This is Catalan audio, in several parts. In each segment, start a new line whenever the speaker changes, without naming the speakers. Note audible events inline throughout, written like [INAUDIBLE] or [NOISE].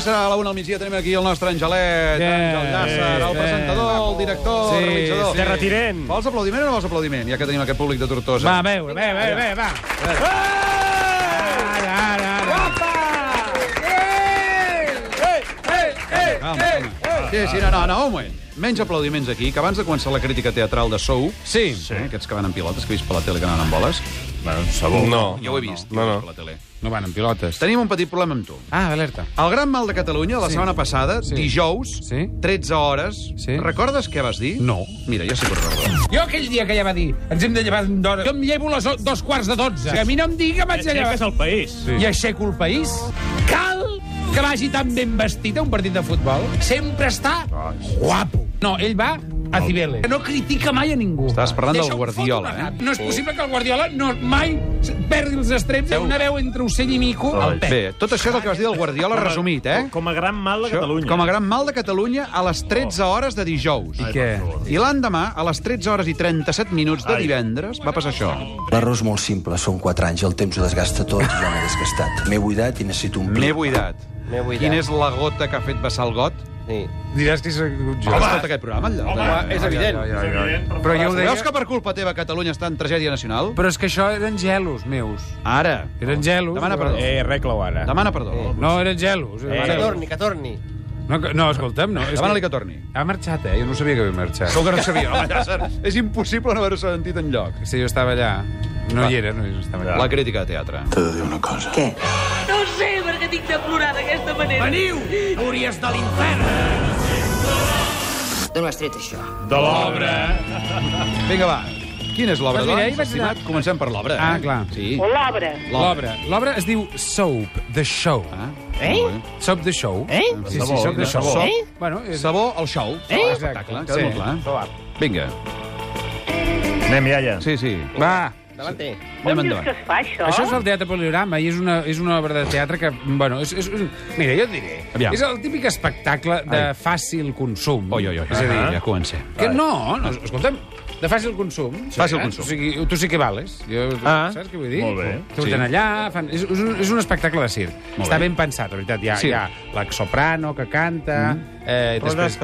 serà a la una al migdia. Tenim aquí el nostre Angelet,
Bé,
Àngel Llàcer, el
bé.
presentador, el director,
Sí,
el realitzador.
sí. De retirent.
Vols aplaudiment o no vols aplaudiment? Ja que tenim aquest públic de Tortosa.
Va, a veure, bé, bé, bé, va. Ara, ara, ara.
Calma, calma. Sí, sí, no, no, no, un moment. Menys aplaudiments aquí, que abans de començar la crítica teatral de Sou,
Sí.
sí. eh, aquests que van amb pilotes, que he vist per la tele que anaven amb boles,
Bueno, sabó.
No.
jo ho he vist
No, no.
per la tele.
No van amb pilotes.
Tenim un petit problema amb tu.
Ah, alerta.
El gran mal de Catalunya, la sí. setmana passada, sí. dijous,
Sí.
13 hores,
Sí.
recordes què vas dir?
No.
Mira, jo sí que ho recordo.
Jo aquell dia que ja va dir ens hem de llevar d'hora... Jo em llevo les o- dos quarts de dotze. Que a mi no em digui que vaig a llevar...
Aixeques el país.
Sí.
I aixeco el país. Cal que vagi tan ben vestit a un partit de futbol. Sempre està guapo. No, ell va a Cibele. No critica mai a ningú.
Estàs parlant del
em fot
Guardiola,
una nap.
eh?
No és possible que el Guardiola no, mai perdi els estreps en una veu entre ocell i mico al pet.
Bé, tot això del que vas dir del Guardiola resumit, eh?
Com a gran mal de
Això,
Catalunya.
Com a gran mal de Catalunya a les 13 hores de dijous.
Oh. I què?
I l'endemà, a les 13 hores i 37 minuts de divendres, va passar això.
L'error és molt simple, són 4 anys, el temps ho desgasta tot i jo m'he desgastat. M'he buidat i necessito un
M'he buidat.
M'he buidat.
Quina és la gota que ha fet vessar el got?
Sí.
Diràs que soc jo.
Has escoltat aquest programa? Allò,
Home,
de-
És evident.
Però jo ho deia...
Veus que per culpa teva Catalunya està en tragèdia nacional?
Però és que això eren gelos meus.
Ara.
Eren gelos.
Demana perdó.
Eh,
arregla-ho ara.
Demana perdó.
No, eren gelos.
Eh.
Que
Eren gelos.
torni, que torni.
No, que- no, escolta'm, no. És
Demana-li que torni.
Ha marxat, eh? Jo no sabia que havia marxat.
Com que no
[LAUGHS]
sabia? Home, Llàcer, és impossible no haver-ho sentit enlloc.
Sí, jo estava allà. No hi era, no hi estava allà.
La crítica de teatre.
No ho sé per què tinc de plorar d'aquesta manera.
Veniu, hauries de l'infern.
D'on ho has tret, això?
De l'obra.
Vinga, va. Quina és l'obra,
Vas dir, ahir
doncs,
vaig
estimat? Comencem per l'obra, eh?
Ah, clar.
Sí.
O l'obra.
L'obra. L'obra es diu Soap, The Show.
Ah,
Eh?
molt bé.
Soap, The Show. Eh? Sí, sí, Soap, The Show.
Soap.
Eh? Bueno, és...
Sabó al show. Oh,
Eh?
Espectacle,
Sí.
queda molt clar. Vinga.
Anem, iaia.
Sí, sí.
Va.
Davante.
Anem
On dius Doncs que
endavant.
es fa, això?
Això és el Teatre Poliorama i és una, és una obra de teatre que, bueno, és, és un... Mira, jo et diré,
Aviam.
és el típic espectacle de
Ai.
fàcil consum.
Oi, oi, Ah. oi.
És a dir,
ja comencem.
que no, no, escolta'm, de fàcil consum.
Fàcil
eh?
consum.
O sigui, tu sí que vales. Jo,
Ah.
Saps què vull dir?
Molt bé.
Surten
Sí.
allà, fan... és, és, un, és un espectacle de circ.
Molt
Està
bé.
ben pensat, la veritat. Hi ha,
Sí.
hi ha l'exoprano que canta, mm. eh, després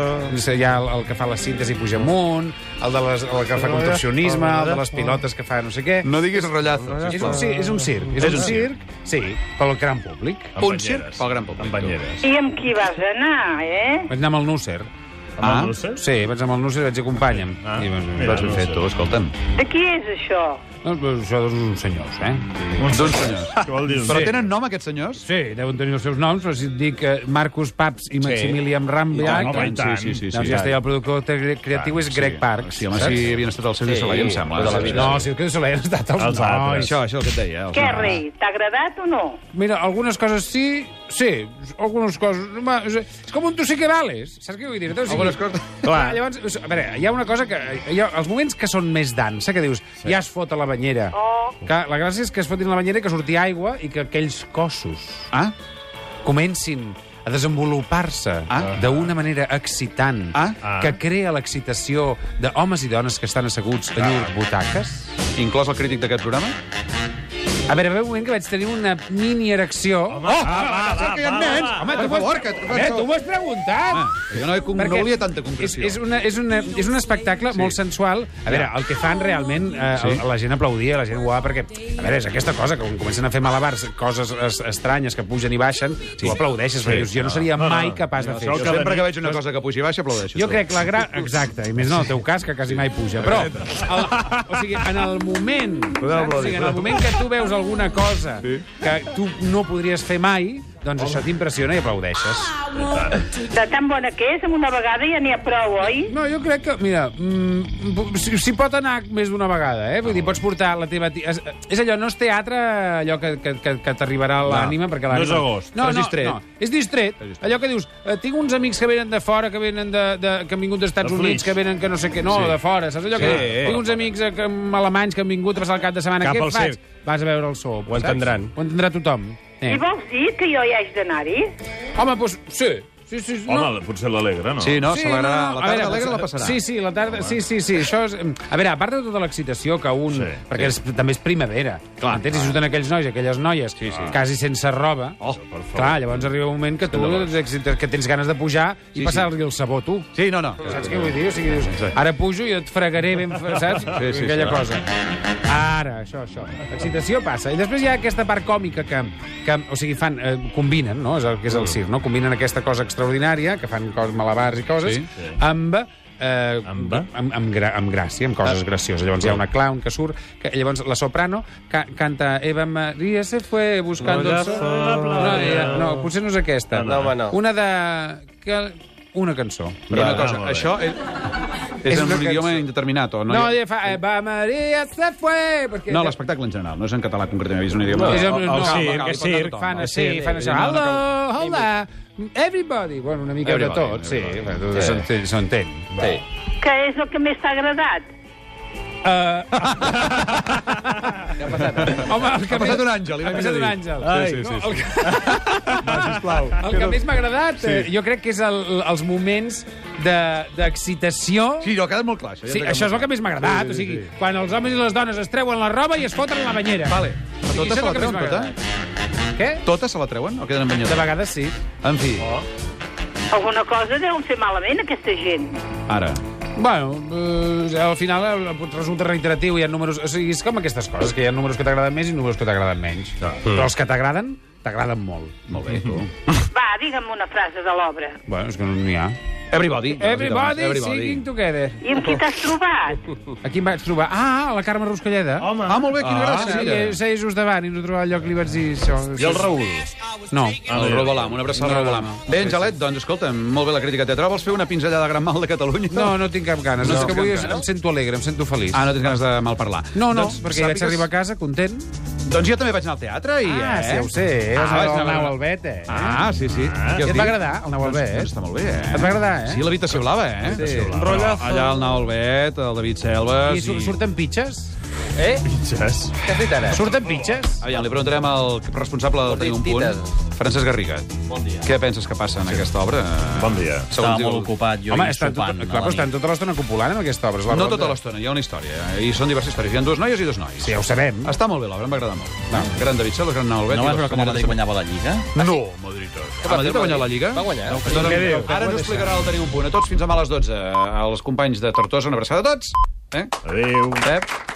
hi ha el, el que fa la síntesi puja amunt, el, de les, el que fa contorsionisme, el de les pilotes que fa no sé què.
No diguis rotllazo.
És un, circ, és un circ, és,
És
un
un
circ, sí, pel gran públic.
Un circ pel gran públic.
Amb banyeres.
I amb qui vas anar, eh?
Vaig anar amb el Nusser.
Ah,
Amb el
Sí, vaig anar amb el Nusser i vaig dir, acompanya'm.
Ah,
I vaig,
mira,
vaig
Ho
no
he
fer
fet
sé.
tu.
tu, escolta'm.
De qui és això?
No, però això dos uns senyors, eh?
Doncs senyors.
Què vol dir?
Però tenen nom, aquests senyors?
Sí, deuen tenir els seus noms, però si et dic eh, Marcus Paps i Maximilian Rambiac,
home, i tant.
Ah, Sí, sí, sí.
doncs
sí.
ja està, i el productor cre- creatiu és Greg Parks.
Ah, Sí, home,
saps?
si havien estat el Cirque du Soleil, em sembla.
tota la
Sí, sí.
vida.
No, si el que se l'han estat els,
Els
nois.
altres.
Això, això és el que et deia. eh, els
Què,
noms.
rei, t'ha agradat o no?
Mira, algunes coses sí, sí, algunes coses... Home, és, és com un tu sí que vales, saps què vull dir? Doncs,
Algunes coses-
Clar. Llavors, o sigui, a veure, hi ha una cosa que... Hi ha, els moments que són més dansa, que dius, sí. ja es fot a la banyera.
Oh.
Que la gràcia és que es fotin a la banyera i que surti aigua i que aquells cossos
Ah,
comencin a desenvolupar-se
Ah.
d'una manera excitant
Ah.
que crea l'excitació de homes i dones que estan asseguts a llur butaques.
inclòs el crític d'aquest programa?
A veure, va haver un moment que vaig tenir una mini erecció. Home, oh!
Va, va, va,
que hi ha
va,
nens.
va.
Home,
Per
tu
favor,
m'has-
que...
tu
Eh, tu m'ho has preguntat!
Ah, jo no, he con... no
Perquè
volia tanta
És,
concreció.
és, una, és, una, és un espectacle molt sensual. A veure, el que fan realment, eh, sí. la gent aplaudia, la gent guapa, perquè, a veure, és aquesta cosa, que quan comencen a fer malabars, coses es, estranyes que pugen i baixen, sí. tu aplaudeixes, sí. dius, jo no seria
no,
mai
no.
capaç de fer
Això
això.
Jo
Cada
sempre
nit-
que veig una cosa que puja i baixa, aplaudeixo.
Jo crec la gran... Exacte, i més no, el teu cas, que quasi mai puja. Però, el, o sigui, en el moment... Saps? O sigui, en el moment que tu veus alguna cosa que tu no podries fer mai, doncs això t'impressiona i aplaudeixes.
De tan bona que és, amb una vegada ja n'hi ha prou, oi?
No, jo crec que, mira, mm, si, si pot anar més d'una vegada, eh? Vull dir, pots portar la teva... Tia... És, és allò, no és teatre allò que, que, que, que t'arribarà a l'ànima, perquè l'ànima...
no és agost,
No,
però és
no,
distret.
no, és distret. Allò que dius, eh, tinc uns amics que venen de fora, que venen de, de que han vingut dels Estats
De
Units,
Flix.
que venen que no sé què... No, de fora, saps allò que...
Sí,
dius,
eh,
tinc uns amics eh, que, alemanys que han vingut a passar el cap de setmana.
Cap
què
al
faig?
circ.
Vas a veure el sop,
Ho entendran.
Ho entendrà tothom. Eh.
I vols dir que jo hi haig d'anar-hi?
Home, doncs, sí. Sí, sí, no.
Home, potser l'alegra, no?
Sí, no? Sí, S'alegrarà.
no,
No,
no.
la
A
tarda
veure,
alegre la
potser-
passarà.
Sí, sí, la tarda... Sí, sí, sí, això és... A veure, a part de tota l'excitació que un...
Sí.
Sí, perquè és, també és primavera. Clar, entens? I surten aquells nois, aquelles noies, sí, sí. quasi sense roba.
Oh,
per favor.
Clar, llavors arriba un moment que tu t'excites, que tens ganes de pujar i
Sí,
passar-li el sabó, tu.
Sí, no, no.
Saps què vull dir? O sigui, dius, ara pujo i et fregaré ben... fre- Saps?
Sí, sí,
Aquella
sí.
cosa. Ara, això, això. Excitació passa. I després hi ha aquesta part còmica que, que o sigui, fan, eh, combinen, no? És el que és
Mm.
el circ, no? Combinen aquesta cosa extraordinària, que fan cos, malabars i coses,
Sí,
sí. amb... Eh,
Amb?
amb, amb, gra, amb gràcia, amb
Ah.
coses gracioses. Llavors hi ha una clown que surt, que, llavors la soprano ca, canta Eva Maria se fue buscando el sol. No, era- no, potser no és aquesta.
No, home, no.
Una de... Que, una cançó.
Però una
Va,
cosa,
va, va.
això és,
És
és en
una
un
cançó.
idioma indeterminat, o no?
No,
hi ha-
ella fa... eh, Eva Maria se fue... Perquè
no l'espectacle en general, no és en català concretament, és un idioma... Oh,
No, és,
el-
no,
el circ,
calma,
el
calma,
circ.
Fan
El
així,
circ,
fan
sí,
això.
no, no
Hello, hola, everybody. Bueno, una mica de
Everybody,
tot, Eh. sí.
everybody.
Bueno, s'entén, S'entén.
Sí.
Que és el que més t'ha agradat?
Home, el que
Ha passat
més-
un àngel, li
Ha
vaig
passat
dir.
un àngel.
Sí, sí, sí,
No,
sí.
el que,
Va, sisplau.
el que més m'ha agradat, eh, jo crec que és el, els moments de- d'excitació...
Sí, no, ha quedat molt clar, això. ja
Sí,
t'ha quedat
això és el
molt
que més m'ha agradat.
Sí,
O
sí,
sigui,
sí.
quan els homes i les dones es treuen la roba i es foten a la banyera.
Vale.
O sigui,
Tota
això és
se la
el que més
treuen,
m'ha
tota?
agradat. Què?
Totes se la treuen o queden en
De
banyador?
vegades sí.
En fi,
Alguna cosa deu fer malament, aquesta gent.
ara.
Bueno, eh, al final eh, resulta reiteratiu, hi ha números... O sigui, és com aquestes coses, que hi ha números que t'agraden més i números que t'agraden menys.
Mm.
No. Però els que t'agraden, t'agraden molt.
Molt bé.
Va, digue'm una frase de l'obra.
Bueno, és que no n'hi ha.
Everybody.
Everybody, Everybody. singing together.
I amb qui t'has trobat?
Aquí em vaig trobar... Ah, la Carme Ruscalleda.
Home.
Ah, molt bé, quina
Ah,
gràcia.
sí, que seia just davant i no trobava lloc, li vaig dir... Això,
I el Raül?
No.
Ah, el Robalam, una abraçada al Robalam. Bé, Angelet, doncs escolta, molt bé la crítica teatral. Vols fer una pinzellada gran mal de Catalunya?
No, no tinc cap ganes.
No
No, és
tens
que
cap
avui
ganes.
em sento alegre, em sento feliç.
Ah, no tens ganes de mal parlar.
No, no,
Doncs,
perquè vaig
sàpigues-
arribar a casa content.
Doncs jo també vaig anar al teatre i... eh?
Ah,
Ah, vaig
el
anar
Nau
al
Albet, eh?
Ah, sí, sí.
I
es
et
diu?
va agradar, el Nau Albet?
Doncs està molt bé, eh?
Et va agradar, eh?
Sí, l'habitació blava, eh?
Sí.
Rollazo. Allà el Nau Albet, el David
I
Selves...
sur surten pitxes?
Eh?
Yes.
Què has dit ara?
Surten pitxes?
Aviam, li preguntarem al responsable del Tenim un punt, Francesc Garriga. Bon dia. Què penses que passa en aquesta obra?
Bon dia.
Segons
Estava
diu-
molt ocupat, jo,
Home,
i
estan, tot,
sopant.
clar, però estan tota l'estona copulant amb aquesta obra. és La
No
ronda.
tota l'estona, hi ha una història. eh? I són diverses històries. Hi ha dues noies i dos nois.
Sí, ja ho sabem.
Està molt bé l'obra, em va agradar molt. No. Gran David Celos, gran Nalbet.
No vas veure com el Madrid guanyava la Lliga?
No, Madrid. Ah, Madrid va guanyar la Lliga?
Va guanyar.
No, doncs, ara no explicarà el tenir un punt. A tots fins demà a les 12. Als companys de Tortosa, una abraçada a tots. Eh?
Adéu.
Pep?